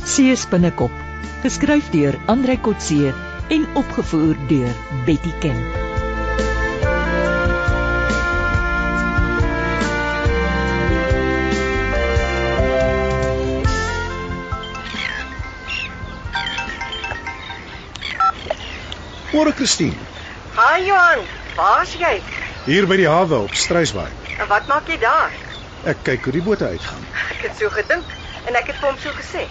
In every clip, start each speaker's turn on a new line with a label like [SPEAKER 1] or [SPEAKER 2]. [SPEAKER 1] Coetzee se binnekop, geskryf deur Andrei Coetzee en opgevoer deur Betty Ken.
[SPEAKER 2] Môre Christine,
[SPEAKER 3] Hi Johan, waar's jy?
[SPEAKER 2] hier by die hawe op Struisbaai.
[SPEAKER 3] En wat maak jy daar?
[SPEAKER 2] Ek kyk hoe die bote uitgaan.
[SPEAKER 3] Ek het so gedink en ek het vir hom so gesê.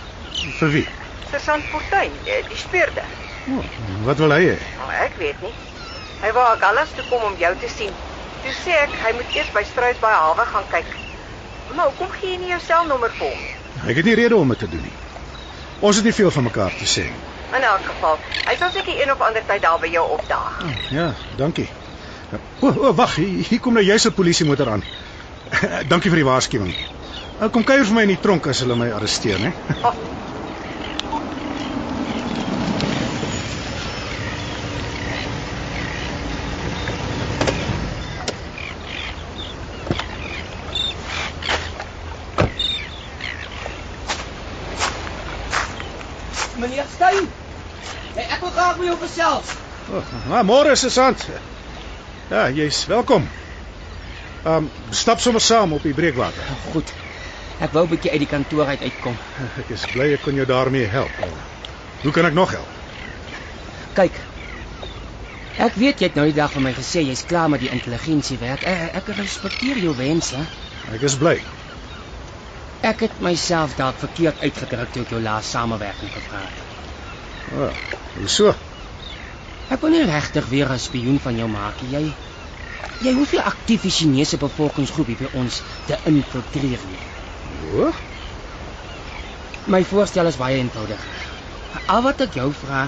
[SPEAKER 2] Vir wie?
[SPEAKER 3] Sergeant Fortuin, eh, die speurder.
[SPEAKER 2] Oh, wat wil hy hê?
[SPEAKER 3] Nou, ek weet nie. Hy wou Gallas toe kom om jou te sien. Toe sê ek hy moet eers by Struisbaai hawe gaan kyk. Maar hoekom gee jy nie jou selnommer vir hom nie?
[SPEAKER 2] Ek het nie rede om dit te doen nie. Ons het nie veel van mekaar te sê nie.
[SPEAKER 3] In elk geval, hy sal seker een of ander tyd daar by jou opdaag.
[SPEAKER 2] Oh, ja, dankie. O, oh, oh, wag, hier, hier kom nou juis 'n polisiemotor aan. dankie vir die waarskuwing. Nou kom kuier vir my in die tronk as hulle my arresteer, né?
[SPEAKER 4] Meneer Stein. Hey, ek wil graag met jou gesels.
[SPEAKER 2] Oh, maar môre is Sant. Ja, jy's welkom. Ehm um, stap sommer saam op die breekwater.
[SPEAKER 4] Goed. Ek wou 'n bietjie uit die kantoor uit uitkom.
[SPEAKER 2] Ek is bly ek kon jou daarmee help. Hoe kan ek nog help?
[SPEAKER 4] Kyk. Ek weet jy het nou die dag vir my gesê jy's klaar met die intelligensiewerk. Ek, ek respekteer jou wense.
[SPEAKER 2] Ek is bly.
[SPEAKER 4] Ek het myself dalk verkeerd uitgedruk toe ek jou laas samewerking gevra het.
[SPEAKER 2] Ja, so.
[SPEAKER 4] Ek wil nie regtig weer 'n spioen van jou maak nie. Jy jy hoef nie aktief die Chinese bevolkingsgroep hier by ons te infiltreer nie.
[SPEAKER 2] O,
[SPEAKER 4] My voorstel is baie eenvoudig. Al wat ek jou vra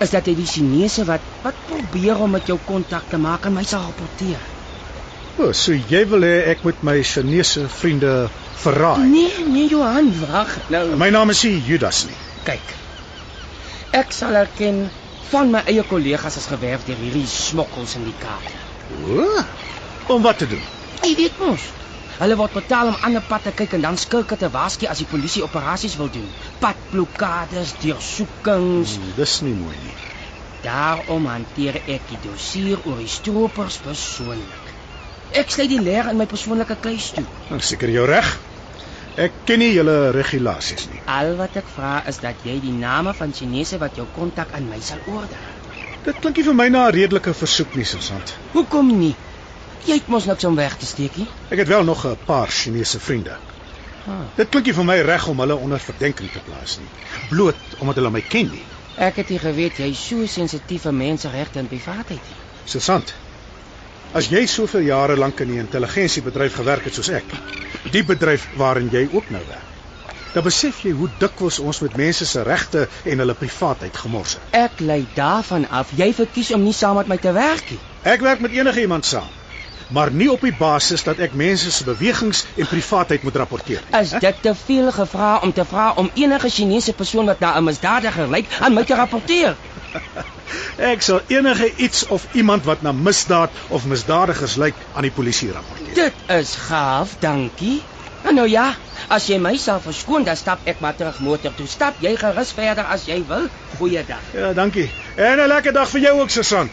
[SPEAKER 4] is dat jy die Chinese wat wat probeer om met jou kontak te maak aan my sal rapporteer.
[SPEAKER 2] o, so jy wil hê ek moet my Chinese vriende verraai.
[SPEAKER 4] Nee, nee Johan, wag. Nou,
[SPEAKER 2] My naam is nie Judas nie.
[SPEAKER 4] kyk. Ek sal erken van my eie kollegas is gewerf deur hierdie smokkels in die Kaap.
[SPEAKER 2] O, om wat te doen?
[SPEAKER 4] Jy weet mos, hulle word betaal om ander pad te kyk en dan skilke te waarsku as die polisie operasies wil doen. Padblokkades, deursoekings.
[SPEAKER 2] Hmm, Dis nie mooi nie.
[SPEAKER 4] Daarom hanteer ek die dossier oor die stroopers persoonlik. Ek sluit die leer in my persoonlike kluis toe.
[SPEAKER 2] Ek Nou, seker jou reg. Ek ken nie julle regulasies nie.
[SPEAKER 4] Al wat ek vra is dat jy die name van Chinese wat jou kontak aan my sal oordra.
[SPEAKER 2] Dit klink nie vir my na 'n redelike versoek nie, Sussant.
[SPEAKER 4] Hoekom nie? Jy het mos niks om weg te steek nie.
[SPEAKER 2] Ek het wel nog 'n paar Chinese vriende.
[SPEAKER 4] Ah.
[SPEAKER 2] Dit klink nie vir my reg om hulle onder verdenking te plaas nie, bloot omdat hulle my ken nie.
[SPEAKER 4] Ek het nie geweet jy is so sensitief vir menseregte en privaatheid nie.
[SPEAKER 2] Sussant. As jy soveel jare lank in die intelligensiebedryf gewerk het soos ek, die bedryf waarin jy ook nou werk, dan besef jy hoe dikwels ons met mense se regte en hulle privaatheid gemors het.
[SPEAKER 4] Ek lei daarvan af jy verkies om nie saam met my te werk nie.
[SPEAKER 2] Ek werk met enige iemand saam, maar nie op die basis dat ek mense se bewegings en privaatheid moet rapporteer nie.
[SPEAKER 4] Is dit te veel gevra om te vra om enige Chinese persoon wat na 'n misdadiger lyk aan my te rapporteer?
[SPEAKER 2] Ek sal enige iets of iemand wat na misdaad of misdadigers lyk aan die polisie rapporteer.
[SPEAKER 4] Dit is gaaf, dankie. En nou ja, as jy my sal verskoon, dan stap ek maar terug motor toe. Stap jy gerus verder as jy wil. Goeiedag.
[SPEAKER 2] Ja, dankie. En 'n lekker dag vir jou ook, Susan.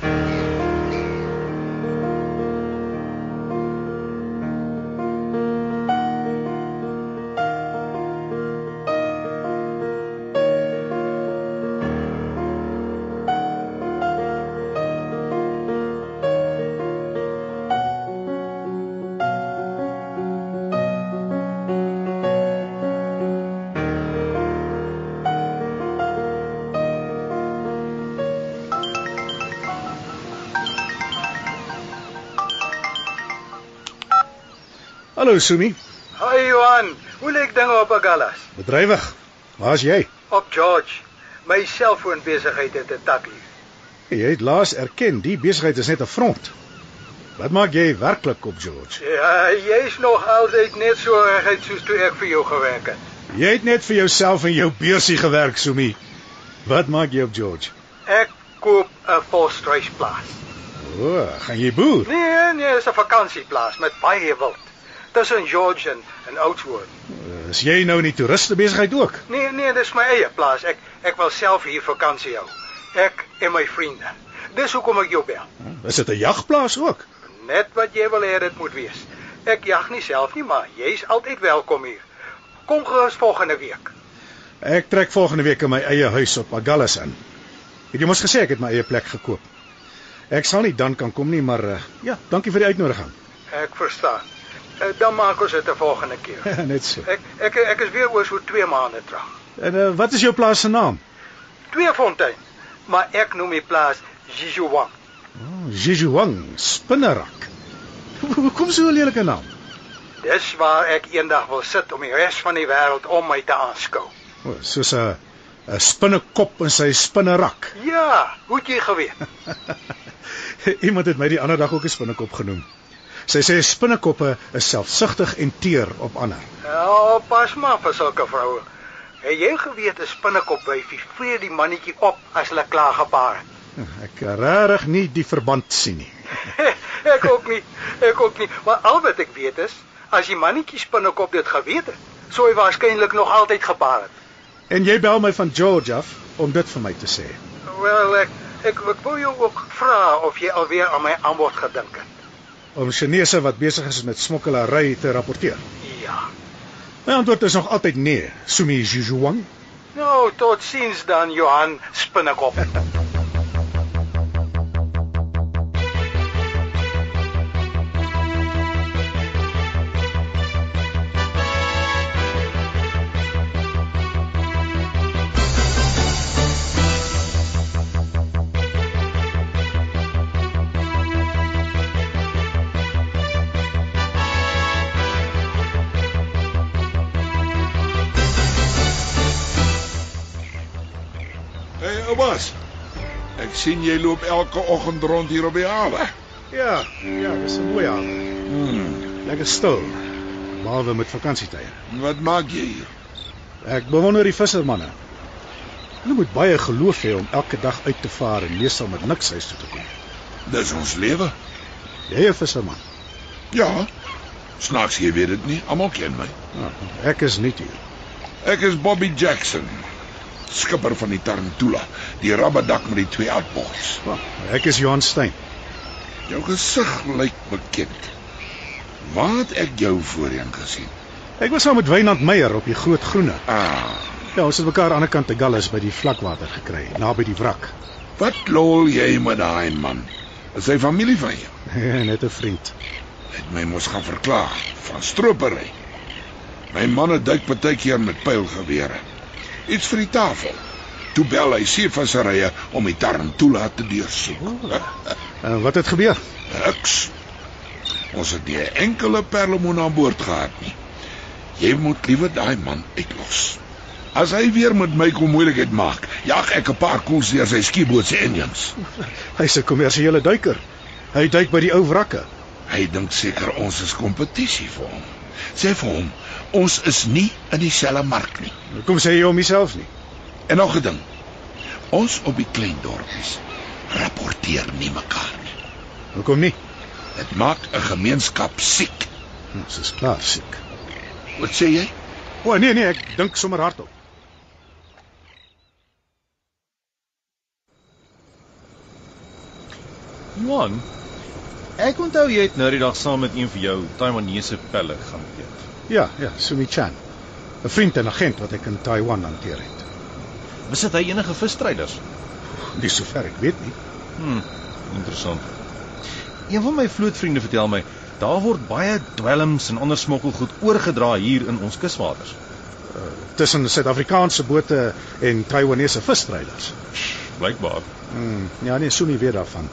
[SPEAKER 2] Hallo Sumi,
[SPEAKER 5] Hi Johan, hoe lyk dinge op Agallas?
[SPEAKER 2] bedrywig. Waar's jy?
[SPEAKER 5] Op George. My selfoonbesigheid het 'n takkie.
[SPEAKER 2] Jy het laas erken die besigheid is net 'n front. Wat maak jy werklik op George?
[SPEAKER 5] Ja, jy's nog altyd net so regheid soos toe ek vir jou gewerk het.
[SPEAKER 2] Jy het net vir jouself en jou beursie gewerk, Sumi. Wat maak jy op George?
[SPEAKER 5] Ek koop 'n volstruisplaas.
[SPEAKER 2] O, oh, gaan jy boer?
[SPEAKER 5] Nee, nee, is 'n vakansieplaas met baie wild. Tussen George en, en Oudtshoorn.
[SPEAKER 2] Eh, Is jy nou in die toeriste besigheid ook?
[SPEAKER 5] Nee, nee, dis my eie plaas. Ek ek wil self hier vakansie hou. Ek en my vriende. Dis hoekom ek jou bel.
[SPEAKER 2] Is dit 'n jagplaas ook?
[SPEAKER 5] Net wat jy wil hê dit moet wees. Ek jag nie self nie, maar jy's altyd welkom hier. Kom gerus volgende week.
[SPEAKER 2] Ek trek volgende week in my eie huis op Agallas in. Het jy mos gesê ek het my eie plek gekoop? Ek sal nie dan kan kom nie, maar eh, ja, dankie vir die uitnodiging.
[SPEAKER 5] Ek verstaan. Eh, Dan maak ons dit 'n volgende keer.
[SPEAKER 2] Net so.
[SPEAKER 5] Ek ek ek is weer oor so 2 maande terug.
[SPEAKER 2] En uh, wat is jou plaas se naam?
[SPEAKER 5] Tweefontein. Maar ek noem die plaas Jijuang.
[SPEAKER 2] Oh, Jijuang, Spinnerak. Hoekom so 'n lelike naam?
[SPEAKER 5] Dis waar ek eendag wil sit om die res van die wêreld om my te aanskou.
[SPEAKER 2] O, soos 'n 'n spinnekop in sy spinnerak.
[SPEAKER 5] Ja, hoe het jy geweet?
[SPEAKER 2] Iemand het my die ander dag ook 'n spinnekop genoem. Sy sê spinnekoppe is selfsugtig en teer op ander.
[SPEAKER 5] Ja, pas maar vir sulke vroue. Het jy geweet 'n spinnekop wyfie vreet die mannetjie op as hulle klaar gepaar het?
[SPEAKER 2] Hm, Ek kan regtig nie die verband sien nie.
[SPEAKER 5] ek ook nie. Ek ook nie. Maar al wat ek weet is, as die mannetjie spinnekop dit geweet het, sou hy waarskynlik nog altyd gepaar het.
[SPEAKER 2] En jy bel my van George af om dit vir my te sê.
[SPEAKER 5] Wel, ek ek, ek wou jou ook vra of jy alweer aan my aanbod gedink het.
[SPEAKER 2] Om Chinese wat besig is met smokkelary te rapporteer.
[SPEAKER 5] Ja.
[SPEAKER 2] My antwoord is nog altyd nee, Sumi Jijuang.
[SPEAKER 5] Nou, tot ziens dan, Johan Spinnekop.
[SPEAKER 6] Hey, oumas. Ek sien jy loop elke oggend rond hier op die hawe.
[SPEAKER 2] Ja, ja, dis 'n mooi aand.
[SPEAKER 6] Hmm.
[SPEAKER 2] Lekker stil. Behalwe met vakansietye.
[SPEAKER 6] Wat maak jy hier?
[SPEAKER 2] Ek bewonder die vissermanne. Hulle moet baie geloof hê om elke dag uit te vaar en meestal met niks huis toe te kom.
[SPEAKER 6] Dis ons lewe.
[SPEAKER 2] Jy 'n visserman.
[SPEAKER 6] Ja. Snaaks jy weet dit nie. Almal ken my.
[SPEAKER 2] Nou, ek is nie hier.
[SPEAKER 6] Ek is Bobby Jackson, skipper van die Tarantula, die rabbedak met die twee uitbogs.
[SPEAKER 2] Wel, Ek is Johan Stein.
[SPEAKER 6] Jou gesig lyk bekend. Waar het ek jou voorheen gesien?
[SPEAKER 2] Ek was saam met Wynand Meyer op die Groot Groene.
[SPEAKER 6] Ah,
[SPEAKER 2] Ja, ons het mekaar aan die ander kant te Gallus by die vlakwater gekry, naby die wrak.
[SPEAKER 6] wat lol jy met daai man? Is hy familie van jou?
[SPEAKER 2] Net 'n vriend.
[SPEAKER 6] Het my mos gaan verklaar van stropery. My manne duik baie keer met pylgewere. Iets vir die tafel. Toe bel hy seevisserye om die tarantula te deursoek.
[SPEAKER 2] En wat het gebeur?
[SPEAKER 6] Niks. Ons het nie 'n enkele perlemoen aan boord gehad nie. Jy moet liewer daai man uitlos. As hy weer met my kom moeilikheid maak, jag ek 'n paar koels deur sy skieboot se engines.
[SPEAKER 2] Hy's 'n kommersiële duiker. Hy duik by die ou wrakke.
[SPEAKER 6] Hy dink seker ons is kompetisie vir hom. Sê vir hom, ons is nie in dieselfde mark nie.
[SPEAKER 2] Kom sê jy om myself nie.
[SPEAKER 6] En nog 'n ding. Ons op die klein dorpies rapporteer nie mekaar nie.
[SPEAKER 2] Hoekom nie?
[SPEAKER 6] Dit maak 'n gemeenskap siek.
[SPEAKER 2] Ons Hm, is klaar siek.
[SPEAKER 6] Wat sê jy?
[SPEAKER 2] O nee nee, ek dink sommer hardop.
[SPEAKER 7] Johan, ek onthou jy het nou die dag saam met een van jou Taiwanese pelle gaan eet.
[SPEAKER 2] Ja, ja, Sumi Chan. 'n Vriend en agent wat ek in Taiwan hanteer het.
[SPEAKER 7] Was dit hy enige visstryders?
[SPEAKER 2] Nie sover ek weet nie.
[SPEAKER 7] Hm, interessant. Een van my vlootvriende vertel my, daar word baie dwelms en ander smokkelgoed oorgedra hier in ons kuswaters.
[SPEAKER 2] Tussen Suid-Afrikaanse bote en Taiwanese visstrylers.
[SPEAKER 7] Blykbaar.
[SPEAKER 2] Hmm, ja nee, Sumi weet daarvan.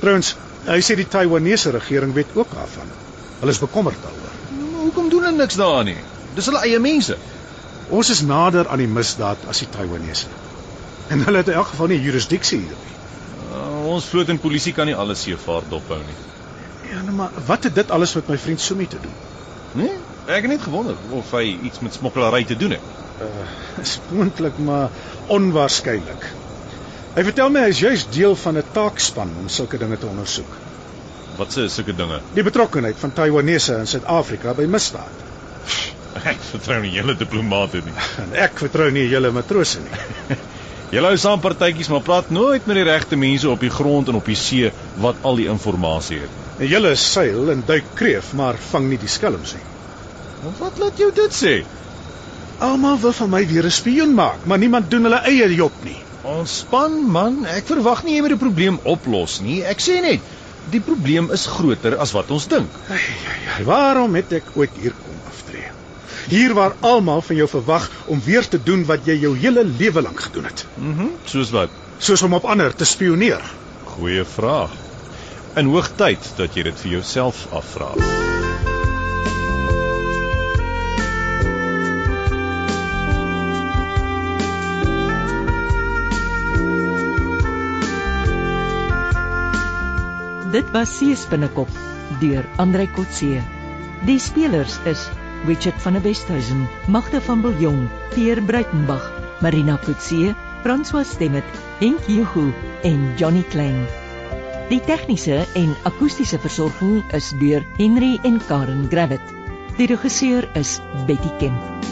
[SPEAKER 2] Trouwens, hy sê die Taiwanese regering weet ook daarvan. Hulle is bekommerd daaroor.
[SPEAKER 7] Maar hoekom doen hulle niks daaraan nie? Dis hulle eie mense.
[SPEAKER 2] Ons is nader aan die misdaad as die Taiwanese. En hulle het in elk geval nie jurisdiksie hier nie.
[SPEAKER 7] Uh, ons vloot en polisie kan nie alle seevaart dophou nie.
[SPEAKER 2] Ja, nou maar wat het dit alles met my vriend Sumi te doen?
[SPEAKER 7] Nee, ek het net gewonder of hy iets met smokkelary te doen het.
[SPEAKER 2] Eh, Is moontlik, maar onwaarskynlik. Hy vertel my hy is juis deel van 'n taakspan om sulke dinge te ondersoek.
[SPEAKER 7] Wat se sulke dinge?
[SPEAKER 2] Die betrokkeheid van Taiwanese in Suid-Afrika by misdaad.
[SPEAKER 7] Ek vertrou nie julle diplomate nie.
[SPEAKER 2] En ek vertrou nie julle matrose nie.
[SPEAKER 7] Julle hou saam partytjies, maar praat nooit met die regte mense op die grond en op die see wat al die inligting het.
[SPEAKER 2] En julle seil en duik kreef, maar vang nie die skelms nie.
[SPEAKER 7] Maar Wat laat jou dit sê?
[SPEAKER 2] Almal wil van my weer 'n spioen maak, maar niemand doen hulle eie job nie.
[SPEAKER 7] Ontspan man, ek verwag nie jy moet die probleem oplos nie. Ek sê net, die probleem is groter as wat ons dink.
[SPEAKER 2] Ai, ai, ai, waarom het ek ooit hier kom aftree? Hier waar almal van jou verwag om weer te doen wat jy jou hele lewe lank gedoen het,
[SPEAKER 7] Mhm, mm soos wat?
[SPEAKER 2] soos om op ander te spioneer.
[SPEAKER 7] Goeie vraag. In hoogtyd dat jy dit vir jouself afvra.
[SPEAKER 1] Dit was Sees binnekop deur Andrei Kotse. Die spelers is Richard van der Westhuizen, Magda van Biljong, Pierre Breitenberg, Marina Kotse, François Stemmet, Henk Juhu en Johnny Klein. Die tegniese en akoestiese versorging is deur Henry en Karen Gravett. Die regisseur is Betty Kemp.